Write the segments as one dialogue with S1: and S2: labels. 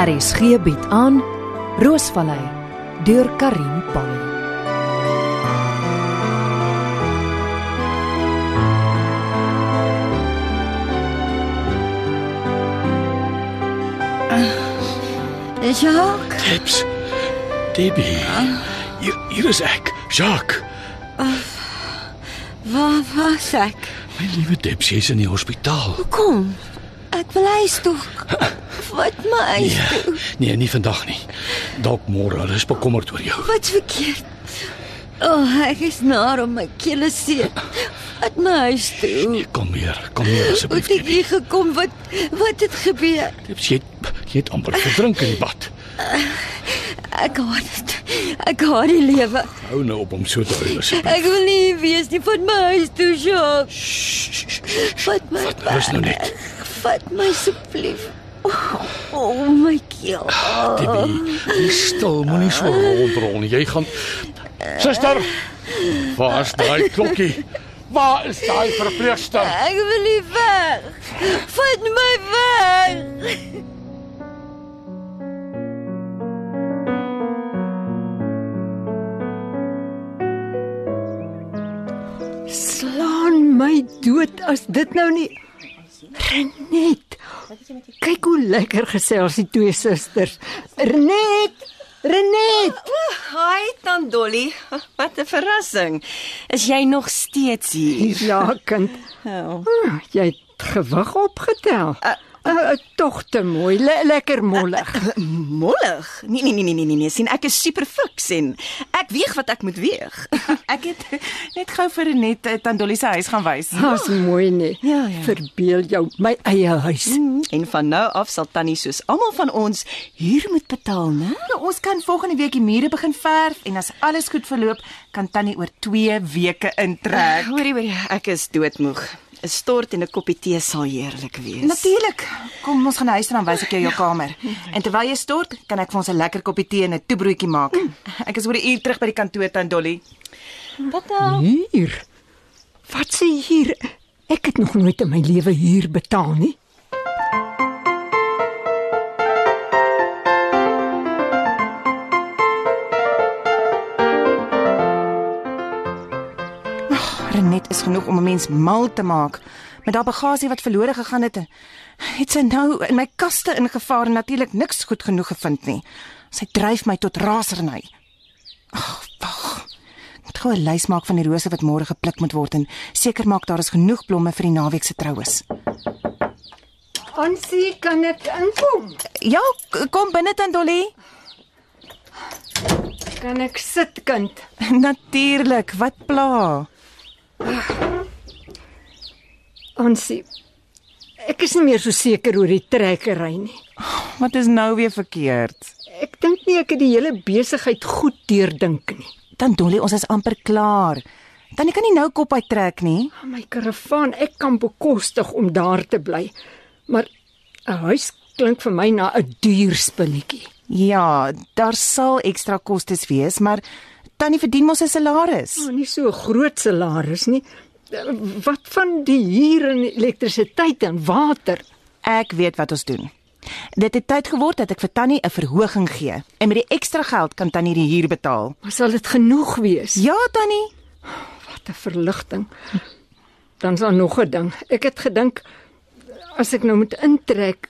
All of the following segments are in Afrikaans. S1: RSG bied aan Roosvallei deur Karin Pan.
S2: Jacques,
S3: Tips. Debbie. Hier, hier is ek, Jacques.
S2: waar was ek?
S3: My liewe Tips, jy's in die hospitaal.
S2: Kom. Ek wil huis toe. Wat my?
S3: Ja. Nee, nie vandag nie. Dalk môre. Hulle is bekommerd oor jou.
S2: Wat verkeerd? O, oh, ek is naar om my keel seer. Wat my huis toe.
S3: Nee, kom hier. Kom hier
S2: Hoe
S3: asseblief.
S2: het ek
S3: Debbie.
S2: hier gekom? Wat wat het gebeur?
S3: Tips, jy het, jy het amper verdrink in die bad.
S2: Ek haat dit. Ek haat die lewe.
S3: Hou nou op om so te huil asseblief.
S2: Ek wil nie hier wees nie van my huis toe, Jacques. Vat my.
S3: Vat nou, rus nou net.
S2: Vat my asseblief. O, oh, my keel.
S3: Debbie, bly stil, moenie so rondrol nie. Jy gaan Suster, waar is daai klokkie? Waar is daai verpleegster?
S2: Ek wil nie weg. Vat my weg.
S4: Slaan my dood as dit nou nie. Renet. Kyk hoe lekker gesels die twee susters. Renet, Renet.
S5: Hi tant Dolly, wat 'n verrassing. Is jy nog steeds hier?
S4: Ja, kind.
S5: Oh.
S4: Hm, Jy het gewig opgetel. Uh, tog te mooi, le lekker mollig.
S5: Mollig. Nee nee nee nee nee nee, nee, sien ek is super fiks en ek weeg wat ek moet weeg.
S6: Ek het net gou vir Renet eh, Tandolli se huis gaan wys. Nou,
S4: Dis mooi nie.
S5: Ja, ja.
S4: Verbeel jou my eie huis.
S5: En van nou af sal tannie soos almal van ons huur moet betaal, né?
S6: Nou, ons kan volgende week die mure begin verf en as alles goed verloop, kan Tannie oor 2 weke intrek.
S5: Hoorie, hoorie, ek is doodmoeg. 'n Stort en 'n koppie tee sal heerlik wees.
S6: Natuurlik. Kom, ons gaan huis toe dan wys ek jou jou kamer. En terwyl jy stort, kan ek vir ons 'n lekker koppie tee en 'n toebroodjie maak. Ek is oor 'n uur terug by die kantoor Tandolli.
S4: Hier. Wat sê hier? Ek het nog nooit in my lewe huur betaal nie.
S6: Renet is genoeg om 'n mens mal te maak. Met daai bagasie wat verlore gegaan het, het sy nou in my kaste ingevaar en natuurlik niks goed genoeg gevind nie. Sy dryf my tot raserny. Ag, wag. Ek moet gou 'n lys maak van die rose wat môre gepluk moet word en seker maak daar is genoeg blomme vir die naweek se troues.
S4: Ansie, kan ek inkom?
S6: Ja, k- kom binne Tandolli.
S4: Kan ek sit, kind?
S6: Natuurlik, wat pla?
S4: Ansie. Ek is nie meer so seker oor die trekkery nie.
S6: Wat is nou weer verkeerd?
S4: Ek dink nie ek het die hele besigheid goed deurdink nie.
S6: Tandolli, ons is amper klaar. Tannie kan nie nou kop uittrek nie.
S4: Aan My karavaan, ek kan bekostig om daar te bly. Maar 'n huis klink vir my na 'n duur spulletjie.
S6: Ja, daar sal ekstra kostes wees, maar tannie verdien mos 'n salaris.
S4: Maar nie so 'n groot salaris nie. Wat van die huur en elektrisiteit en water?
S6: Ek weet wat ons doen. Dit het tyd geword dat ek vir tannie 'n verhoging gee en met die ekstra geld kan tannie die huur betaal.
S4: Maar sal dit genoeg wees?
S6: Ja, tannie.
S4: Wat 'n verligting. Dan is daar nog 'n ding. Ek het gedink as ek nou moet intrek,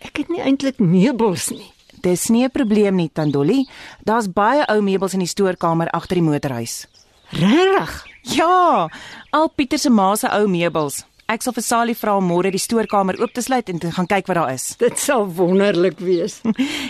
S4: ek het nie eintlik meubels nie.
S6: Dis nie 'n probleem nie, Tandolli. Daar's baie ou meubels in die stoorkamer agter die motorhuis.
S4: Regtig?
S6: Ja, al Pieter se ma se ou meubels. Ek sal vir Sally vra om môre die stoorkamer oop te sluit en te gaan kyk wat daar is.
S4: Dit sal wonderlik wees.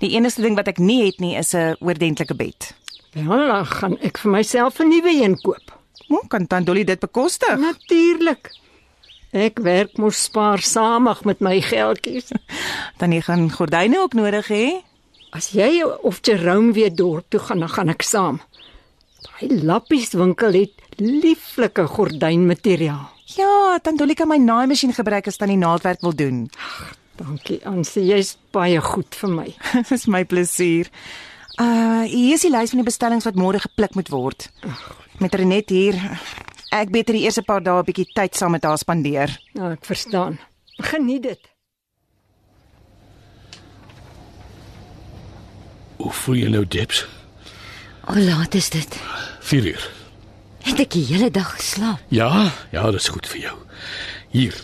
S6: Die enigste ding wat ek nie het nie is 'n oordentlike bed.
S4: Wel, Ja, dan gaan ek vir myself 'n nuwe een koop.
S6: Hoe kan Tandolli dit bekostig?
S4: Natuurlik. Ek werk mos spaarsamig met my geldjies.
S6: Dan jy gaan gordyne ook nodig hê.
S4: As jy of Jerome weer dorp toe gaan, dan gaan ek saam. Daai lappies winkel het lieflike gordynmateriaal.
S6: Ja, Tandolli kan my naaimasjien gebruik as tannie naaldwerk wil doen.
S4: Dankie, Ansie, jy's baie goed vir my.
S6: Dis my plesier. Uh, hier is die lys van die bestellings wat môre gepluk moet word. Met Renet hier. Ek beter die eerste paar dae 'n bietjie tyd saam met haar spandeer.
S4: Nou, ek verstaan. Geniet dit.
S3: Hoe voel je nou, Debs?
S2: Hoe laat is dit?
S3: 4 uur.
S2: Het ek die hele dag geslaap?
S3: Ja, ja, dit is goed vir jou. Hier.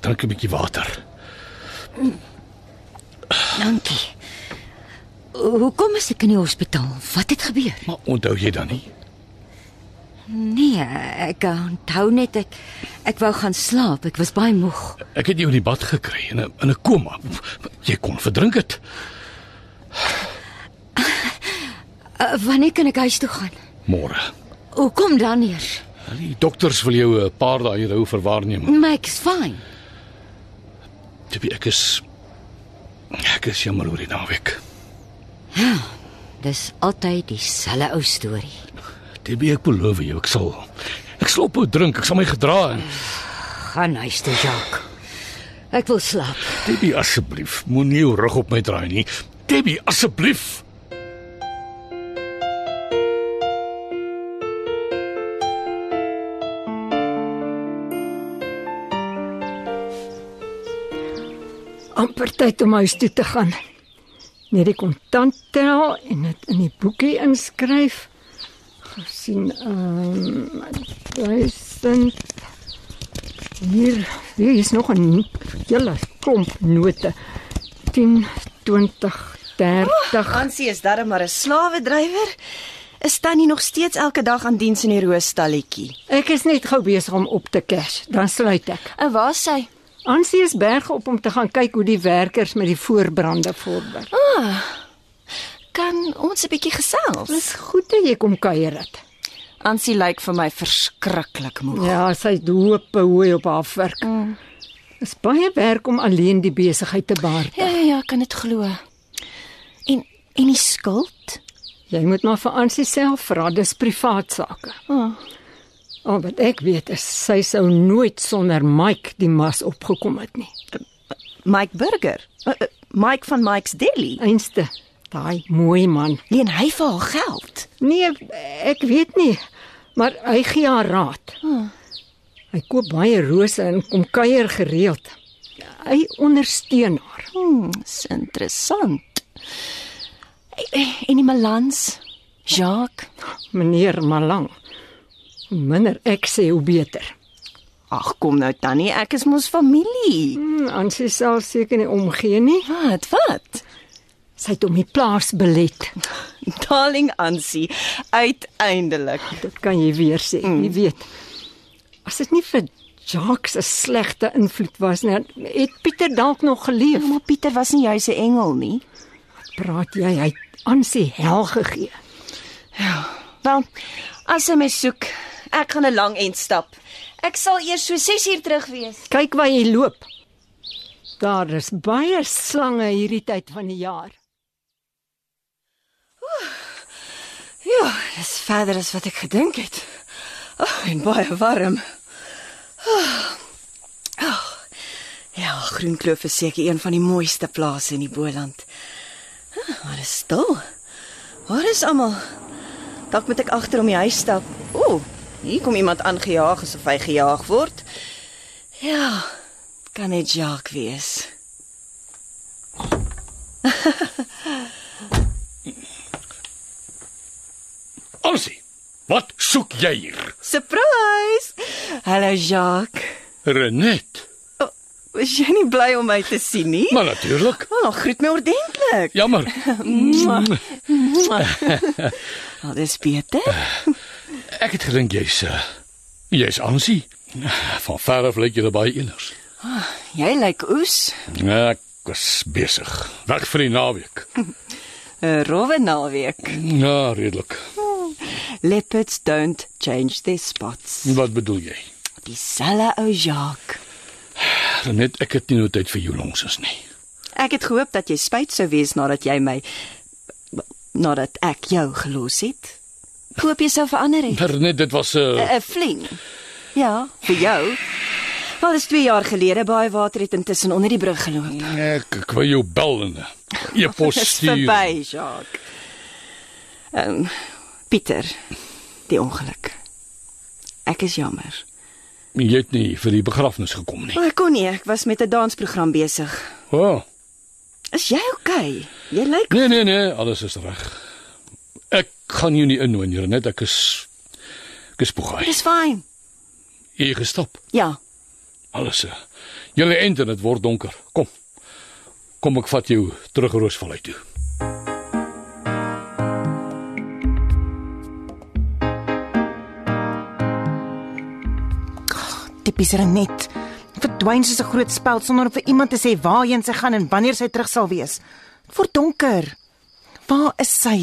S3: Drink 'n bietjie water.
S2: Dankie. Hoekom is ek in die hospitaal? Wat het gebeur?
S3: Maar onthou jy dan nie?
S2: Nee, ek onthou net ek ek wou gaan slaap. Ek was baie moeg.
S3: Ek het jou in die bad gekry in 'n in 'n koma. Jy kon verdrink het.
S2: Uh, wanneer kan ek huis toe gaan?
S3: Môre.
S2: Hoekom dan eers?
S3: Die dokters wil jou 'n paar dae hier hou vir waarneming.
S2: Maar ek is fyn.
S3: Tippie, ek is ek is jammer oor die naweek.
S2: Dis altyd dieselfde ou storie.
S3: Tippie, ek beloof jou, ek sal ek sal ophou drink, ek sal my gedra en
S2: Gaan huis toe, Jacques. Ek wil slaap.
S3: Tippie asseblief, moenie jou rug op my draai nie. Tippie asseblief.
S4: amper tyd om huis toe te gaan. Net die kontant tel en dit in die boekie inskryf. Gesien ehm um, 1000 hier, hier is nog 'n hele klomp note. 10 20 30
S5: Hansie is darm maar 'n slawedrywer. Is tannie nog steeds elke dag aan diens in die roostalletjie?
S4: Ek is net gou besig om op te cash, dan sluit ek.
S5: En waar is sy?
S4: Ansie is berg op om te gaan kyk hoe die werkers met die voorbrande vorder.
S5: Kan ons 'n bietjie gesels?
S4: Dis goed dat jy kom kuier het.
S5: Hansie lyk vir my verskriklik moeg.
S4: Ja, sy doop hooi op haar werk. Mm. Is baie werk om alleen die besigheid te baartig.
S5: Ja, ja, ja, ek kan dit glo. En en die skuld?
S4: Jy moet maar vir Ansie self vra, dis privaat sake.
S5: Oh.
S4: Al wat ek weet is sy sou nooit sonder Mike die mas opgekom het nie.
S5: Mike Burger. Uh, uh, Mike van Mike's Deli.
S4: Einste, daai mooi man.
S5: Leen hy vir haar geld?
S4: Nee, ek weet nie, maar hy gee haar raad. Hmm. Hy koop baie rose en kom kuier gereeld. Hy ondersteun haar.
S5: Hmm, is interessant. Eh, En die balans, Jacques.
S4: Meneer Malang. Hoe minder ek sê hoe beter.
S5: Ag kom nou tannie, ek is mos familie.
S4: Hmm, Ansie sal seker nie omgee nie.
S5: Wat? Wat? Nou.
S4: Sy het hom die plaas belet.
S5: Darling Ansie, uiteindelik.
S4: Dit kan jy weer sê.
S5: Hmm.
S4: Mm. Jy weet. As dit nie vir Jacques 'n slegte invloed was nie, dan het Pieter dalk nog geleef.
S5: Maar Pieter was nie jou se engel nie.
S4: Praat jy, hy het Ansie hel gegee.
S5: Ja, Wel, as jy my soek, ek gaan 'n lang end stap. Ek sal eers so 6 uur terug wees.
S4: Kyk waar jy loop. Daar is baie slange hierdie tyd van die jaar.
S5: Ja, dis verder as wat ek gedink het. Oh, en baie warm. Oh, oh. Ja, Groenkloof is seker een van die mooiste plase in die Boland. Ah, Maar is stil. Waar is almal? Dalk moet ek agter om die huis stap. O, hier kom iemand aangejaag asof hy gejaag word. Ja, kan net Jacques wees.
S3: Ansie, wat soek jy hier?
S5: Surprise! Hallo Jacques.
S3: Renet.
S5: Oh, was jy nie bly om my te sien nie?
S3: Maar natuurlik.
S5: Oh, groet my ordentlik.
S3: Jammer.
S5: Al dis beter.
S3: Ek het gedink jy's uh, jy's Ansie. Van ver af lyk jy baie anders.
S5: Jy lyk oes.
S3: Ek was besig. Weg vir die naweek.
S5: 'n Eh, Rowwe naweek.
S3: Ja, redelik.
S5: Leopards don't change their spots.
S3: Wat bedoel jy?
S5: Dieselfde ou Jacques.
S3: Renet, ek het nie nou tyd vir jou nonsens nie.
S5: Ek het gehoop dat jy spyt sou wees nadat jy my nadat ek jou gelos het. Koop jy sou verander het.
S3: Renet, dit was 'n uh,
S5: 'n fling. Ja, vir jou. Wel, dis 2 jaar gelede baie water het intussen onder die brug geloop.
S3: ek, ek wou jou bel en 'n e-pos
S5: Dis
S3: stuur.
S5: verby, Jacques. Ehm um, Pieter, die ongeluk. Ek is jammer.
S3: Jy het nie vir die begrafnis gekom nie.
S5: Wel, ek kon nie, ek was met 'n dansprogram besig.
S3: O, oh,
S5: Is jy okay? Jy lyk
S3: Nee nee nee, alles is reg. Ek gaan jou nie innooi nie, net ek is ek is boeg.
S5: dis fyn.
S3: Jy het gestop.
S5: Ja.
S3: Alles. eh, Julle enter, dit word donker. Kom. Kom ek vat jou terug Roosvallei toe.
S6: Tipies Renet. Verdwyn soos 'n groot speld sonder om vir iemand te sê waarheen sy gaan en wanneer sy terug sal wees. Dit word donker. Waar is sy?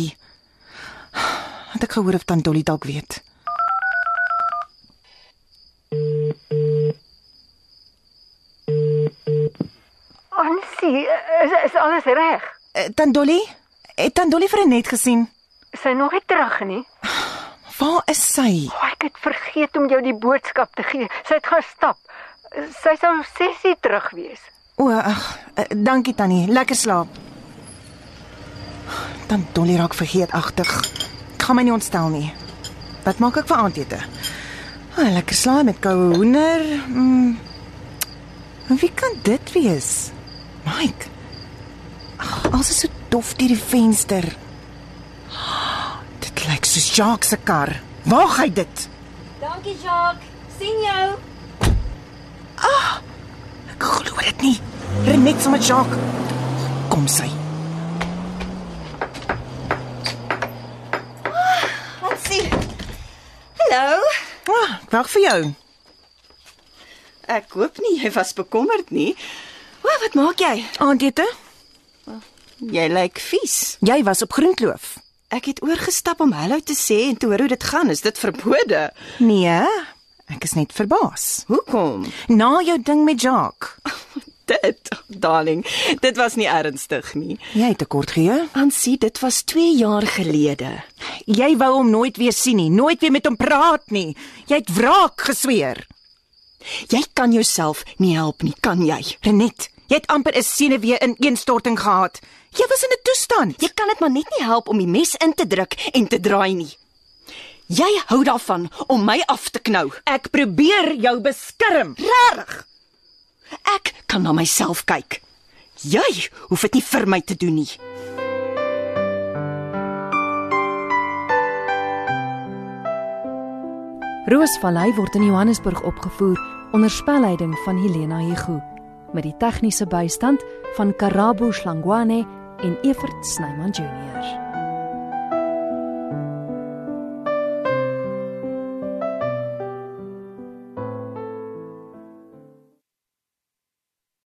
S6: Het ek gehoor of tant Dolly dalk weet?
S4: Ansie, is, is alles reg?
S6: Eh, Tant Dolly? Het tant Dolly vir Renet gesien?
S4: Sy nog nie terug nie.
S6: Waar is sy?
S4: O, ek het vergeet om jou die boodskap te gee. Sy het gaan stap. Sy sou 6:00 terug wees.
S6: O, ag, eh, dankie Tannie. Lekker slaap. Tant Dolly raak vergeetagtig. Ek gaan my nie ontstel nie. Wat maak ek vir aandete? Ah, lekker slaai met koue hoender. Mm. Wie kan dit wees? Mike. Ag, alles is so dof deur die venster. Dit lyk soos Jacques se kar. Waar gaan hy dit?
S2: Dankie, Jacques. sien jou.
S6: Ek glo dit nie. Renet sommer Jacques. Kom sy.
S5: Wat sien? Hallo.
S6: Ah, ek wag vir jou.
S5: Ek hoop nie jy was bekommerd nie. O, wat maak jy?
S6: Aandete?
S5: Jy lyk vies.
S6: Jy was op Groenkloof.
S5: Ek het oorgestap om hallo te sê en te hoor hoe dit gaan. Is dit verbode?
S6: Nee, ek is net verbaas.
S5: Hoekom?
S6: Na jou ding met Jacques.
S5: Dit, darling, dit was nie ernstig nie.
S6: Jy het tekort gee.
S5: Ansie, dit was 2 jaar gelede.
S6: Jy wou hom nooit weer sien nie, nooit weer met hom praat nie. Jy het wraak gesweer.
S5: Jy kan jouself nie help nie, kan jy?
S6: Renet, jy het amper 'n senuwee ineenstorting gehad. Jy was in 'n toestand.
S5: Jy kan dit maar net nie help om die mes in te druk en te draai nie. Jy hou daarvan om my af te knou.
S6: Ek probeer jou beskerm.
S5: Regtig? Ek kan na myself kyk. Jy hoef dit nie vir my te doen nie.
S1: Roosvallei word in Johannesburg opgevoer onder spelleiding van Helena Hugo met die tegniese bystand van Karabo Slangwane en Evert Snyman Junior.